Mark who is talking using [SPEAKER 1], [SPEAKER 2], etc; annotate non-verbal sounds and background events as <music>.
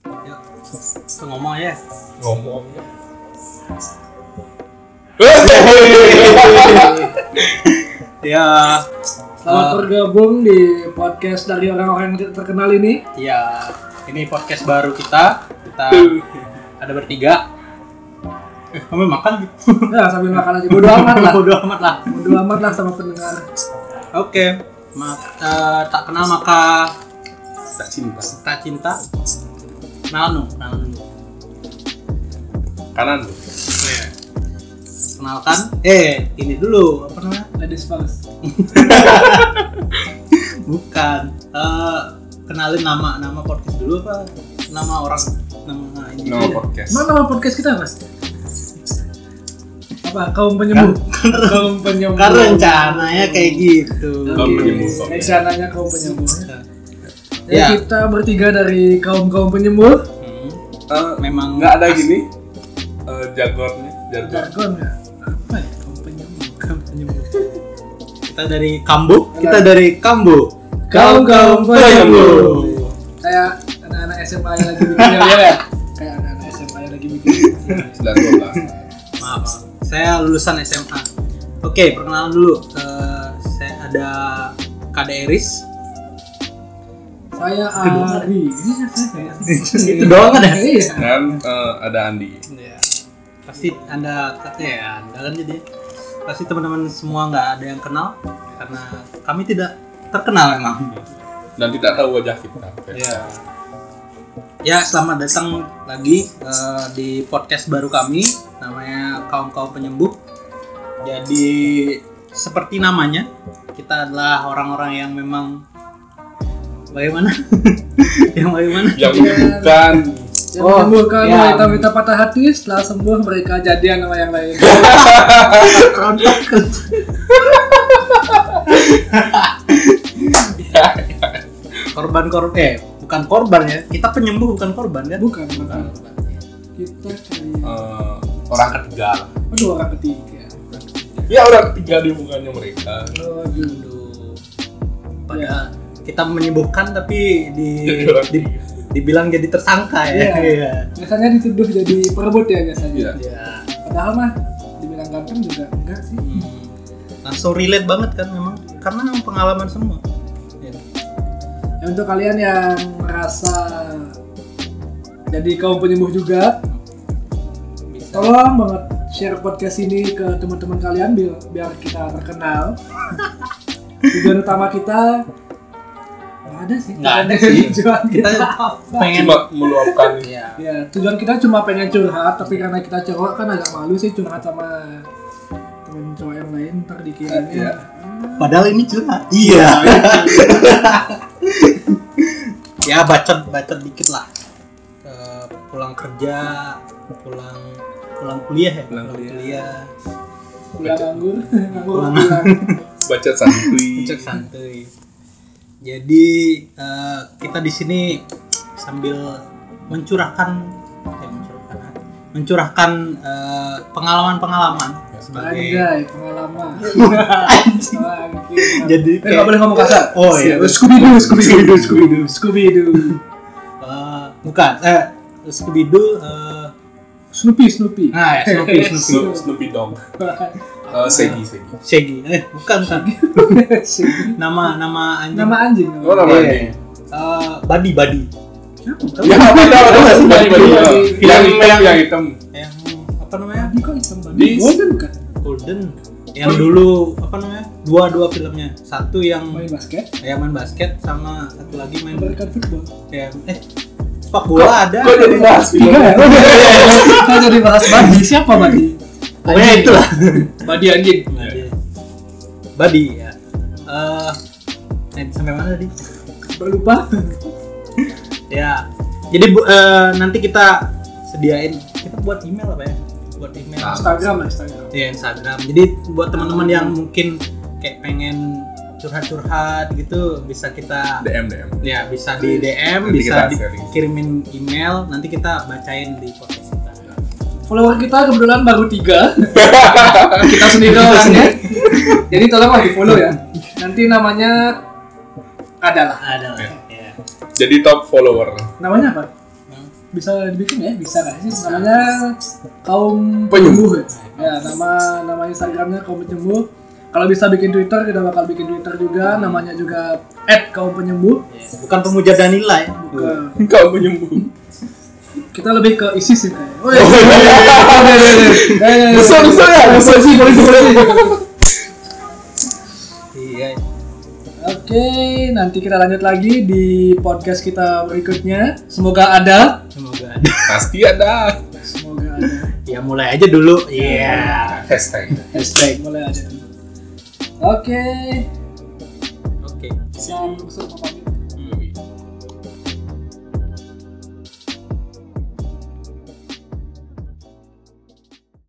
[SPEAKER 1] Tuh Ya. ngomong aja.
[SPEAKER 2] ngomongnya
[SPEAKER 1] Ya.
[SPEAKER 3] Selamat
[SPEAKER 1] Eh,
[SPEAKER 3] bergabung di podcast dari orang-orang yang terkenal ini.
[SPEAKER 1] Ya. Ini podcast baru kita. Kita ada bertiga. Eh, kamu makan?
[SPEAKER 3] Ya, sambil makan aja. Bodo amat
[SPEAKER 1] <laughs>
[SPEAKER 3] lah.
[SPEAKER 1] Bodoh amat lah.
[SPEAKER 3] Bodo amat lah sama pendengar.
[SPEAKER 1] Oke. Ma- eh, tak kenal maka
[SPEAKER 2] tak cinta
[SPEAKER 1] tak cinta. Kenal nu, kenal nu.
[SPEAKER 2] kanan
[SPEAKER 1] Kenalkan. Eh, ini dulu apa namanya?
[SPEAKER 3] Ladies first.
[SPEAKER 1] Bukan. Eh, kenalin nama nama podcast dulu apa? Nama orang nama ini.
[SPEAKER 2] no podcast
[SPEAKER 3] Mana nama podcast kita, Mas? Apa? Kaum penyembuh. <laughs> kaum penyembuh.
[SPEAKER 1] Kan rencananya kayak gitu. Iya,
[SPEAKER 3] Oke,
[SPEAKER 2] Kaum penyembuh, kaum penyembuh.
[SPEAKER 3] Rencananya kaum penyembuh. Jadi
[SPEAKER 1] Ya.
[SPEAKER 3] kita bertiga dari kaum-kaum penyembuh.
[SPEAKER 1] Hmm.
[SPEAKER 2] Eh,
[SPEAKER 1] Memang
[SPEAKER 2] nggak ada gini eh, jagornya jargon
[SPEAKER 3] Jargon ya? Apa ya? Kaum penyembuh. Kaum penyembuh.
[SPEAKER 1] Kita dari Kambu, kita dari Kambu.
[SPEAKER 3] Kaum-kaum
[SPEAKER 1] Kambu.
[SPEAKER 3] penyembuh. Kayak anak-anak SMA yang lagi bikin <laughs> ya. ya? Kayak anak-anak SMA yang lagi bikin.
[SPEAKER 2] dan dua belas
[SPEAKER 1] Maaf, saya lulusan SMA. Oke, perkenalan dulu. Eh, saya ada Kak Eris.
[SPEAKER 3] Saya Ari. Ini saya kayak
[SPEAKER 1] Itu <laughs> doang kan ya?
[SPEAKER 3] Iya.
[SPEAKER 2] dan eh, ada Andi
[SPEAKER 1] Iya. Pasti Anda kata ya, Anda kan jadi pasti teman-teman semua nggak ada yang kenal karena kami tidak terkenal memang.
[SPEAKER 2] dan tidak tahu wajah kita
[SPEAKER 1] Ya. Ya, selamat datang lagi eh, di podcast baru kami namanya Kaum Kaum Penyembuh. Jadi seperti namanya, kita adalah orang-orang yang memang bagaimana? <laughs> yang bagaimana?
[SPEAKER 2] yang menyembuhkan
[SPEAKER 3] Yang
[SPEAKER 1] Oh,
[SPEAKER 3] menyembuhkan
[SPEAKER 1] iya.
[SPEAKER 3] wanita-wanita patah hati setelah sembuh mereka jadian sama yang lain.
[SPEAKER 1] <laughs> Rontok. korban korban Ya. eh bukan korban ya kita penyembuh bukan korban kan
[SPEAKER 3] Bukan, bukan. Kita kayak
[SPEAKER 2] eh, orang ketiga lah.
[SPEAKER 3] aduh orang ketiga.
[SPEAKER 2] ya orang ketiga di hubungannya mereka
[SPEAKER 3] Aduh.
[SPEAKER 1] Padahal
[SPEAKER 2] Iya.
[SPEAKER 1] kita menyembuhkan tapi di,
[SPEAKER 2] Jadi orang
[SPEAKER 1] di- dibilang jadi tersangka ya.
[SPEAKER 3] Iya. Biasanya dituduh jadi perebut ya biasanya.
[SPEAKER 2] Iya.
[SPEAKER 1] Iya.
[SPEAKER 3] Padahal mah dibilang ganteng juga enggak sih.
[SPEAKER 1] Hmm. Langsung relate banget kan memang karena memang pengalaman semua. Iya.
[SPEAKER 3] Ya, untuk kalian yang merasa jadi kaum penyembuh juga,
[SPEAKER 1] Bisa.
[SPEAKER 3] tolong banget share podcast ini ke teman-teman kalian biar, biar kita terkenal tujuan utama kita nggak ada sih
[SPEAKER 1] Nggak ada sih.
[SPEAKER 3] tujuan kita,
[SPEAKER 1] Kita
[SPEAKER 3] apa?
[SPEAKER 1] pengen
[SPEAKER 2] Iya. cuma meluapkan
[SPEAKER 1] Iya.
[SPEAKER 3] ya tujuan kita cuma pengen curhat tapi karena kita cowok kan agak malu sih curhat sama temen cowok yang lain ntar dikirain
[SPEAKER 2] Iya.
[SPEAKER 1] Padahal ini curhat. Iya. <laughs> ya bacot bacot dikit lah. Eh, pulang kerja, pulang pulang kuliah ya.
[SPEAKER 2] Pulang kuliah.
[SPEAKER 3] pulang <laughs> nganggur nganggur
[SPEAKER 1] Pulang.
[SPEAKER 3] pulang
[SPEAKER 2] baca santuy
[SPEAKER 1] Cek santuy. Jadi eh, kita di sini sambil mencurahkan eh, mencurahkan mencurahkan eh, pengalaman-pengalaman
[SPEAKER 3] Ya,
[SPEAKER 1] sebagai
[SPEAKER 3] anjay pengalaman
[SPEAKER 1] <laughs> jadi
[SPEAKER 3] Eh, nggak boleh ngomong kasar.
[SPEAKER 1] Oh iya.
[SPEAKER 3] Scooby Doo, Scooby Doo, Scooby Doo, Scooby Doo,
[SPEAKER 1] Eh, bukan eh Scooby Doo eh,
[SPEAKER 3] Snoopy, Snoopy.
[SPEAKER 1] nah ya, Snoopy
[SPEAKER 3] <laughs>
[SPEAKER 1] Snoopy
[SPEAKER 2] Snoop- Snoopy Dogg Eh, Segi Segi
[SPEAKER 1] Shaggy eh bukan bukan nama nama anjing
[SPEAKER 3] nama anjing nama.
[SPEAKER 2] Oh, nama
[SPEAKER 1] Iya.
[SPEAKER 2] anjing.
[SPEAKER 1] Eh, Buddy Buddy
[SPEAKER 2] Ya, apa tahu tahu
[SPEAKER 1] Iya.
[SPEAKER 2] Yang
[SPEAKER 1] Iya.
[SPEAKER 2] hitam, yang hitam.
[SPEAKER 1] yang apa namanya
[SPEAKER 3] Tadi kok hitam banget?
[SPEAKER 2] Di-
[SPEAKER 3] Golden kan? bukan?
[SPEAKER 1] Golden yang dulu apa namanya dua dua filmnya satu yang
[SPEAKER 3] Main basket,
[SPEAKER 1] ya main basket sama satu lagi main
[SPEAKER 3] American football.
[SPEAKER 1] ya eh sepak bola ada
[SPEAKER 2] Kok jadi bahas gitu? film?
[SPEAKER 3] Tiga ya? Kita jadi bahas Badi. Siapa Badi?
[SPEAKER 1] pokoknya itulah
[SPEAKER 3] Badi anjing.
[SPEAKER 1] Badi. Badi Iya. ya Eh, eh, sampai mana tadi
[SPEAKER 3] Lupa.
[SPEAKER 1] ya jadi bu- eh, nanti kita sediain kita buat email apa ya buat email
[SPEAKER 2] Nah.
[SPEAKER 3] Instagram lah Instagram.
[SPEAKER 1] di Instagram. Jadi buat teman-teman yang mungkin kayak pengen curhat-curhat gitu bisa kita
[SPEAKER 2] DM DM.
[SPEAKER 1] ya bisa di DM,
[SPEAKER 2] Nanti
[SPEAKER 1] bisa
[SPEAKER 2] kita sharing.
[SPEAKER 1] dikirimin email, nanti kita bacain di podcast kita.
[SPEAKER 3] Follower kita kebetulan baru tiga. kita sendiri orangnya. Jadi tolonglah di follow ya. Nanti namanya adalah.
[SPEAKER 1] Ada lah. Ya.
[SPEAKER 2] Jadi top follower.
[SPEAKER 3] Namanya apa?
[SPEAKER 1] Hmm.
[SPEAKER 3] bisa dibikin ya bisa nggak sih namanya kaum
[SPEAKER 2] Penyembuh.
[SPEAKER 3] penyembuh ya? ya nama nama instagramnya kaum penyembuh kalau bisa bikin twitter kita bakal bikin twitter juga namanya juga at kaum penyembuh
[SPEAKER 1] Iya. Bukan pemuja Danila ya.
[SPEAKER 2] Iya.
[SPEAKER 3] Bukan.
[SPEAKER 2] Kau menyembuh.
[SPEAKER 3] kita lebih ke isis sih Iya, kayaknya Woi.
[SPEAKER 2] Oh, iya. <laughs> Besar besar ya, besar sih boleh
[SPEAKER 1] Iya.
[SPEAKER 3] Oke, nanti kita lanjut lagi di podcast kita berikutnya. Semoga ada.
[SPEAKER 1] Semoga ada.
[SPEAKER 2] Pasti ada
[SPEAKER 3] Semoga ada.
[SPEAKER 1] Ya mulai aja dulu. Iya.
[SPEAKER 2] hashtag.
[SPEAKER 1] Hashtag.
[SPEAKER 3] Mulai aja. Oke.
[SPEAKER 1] Oke.
[SPEAKER 3] Saya Yusuf mau pamit.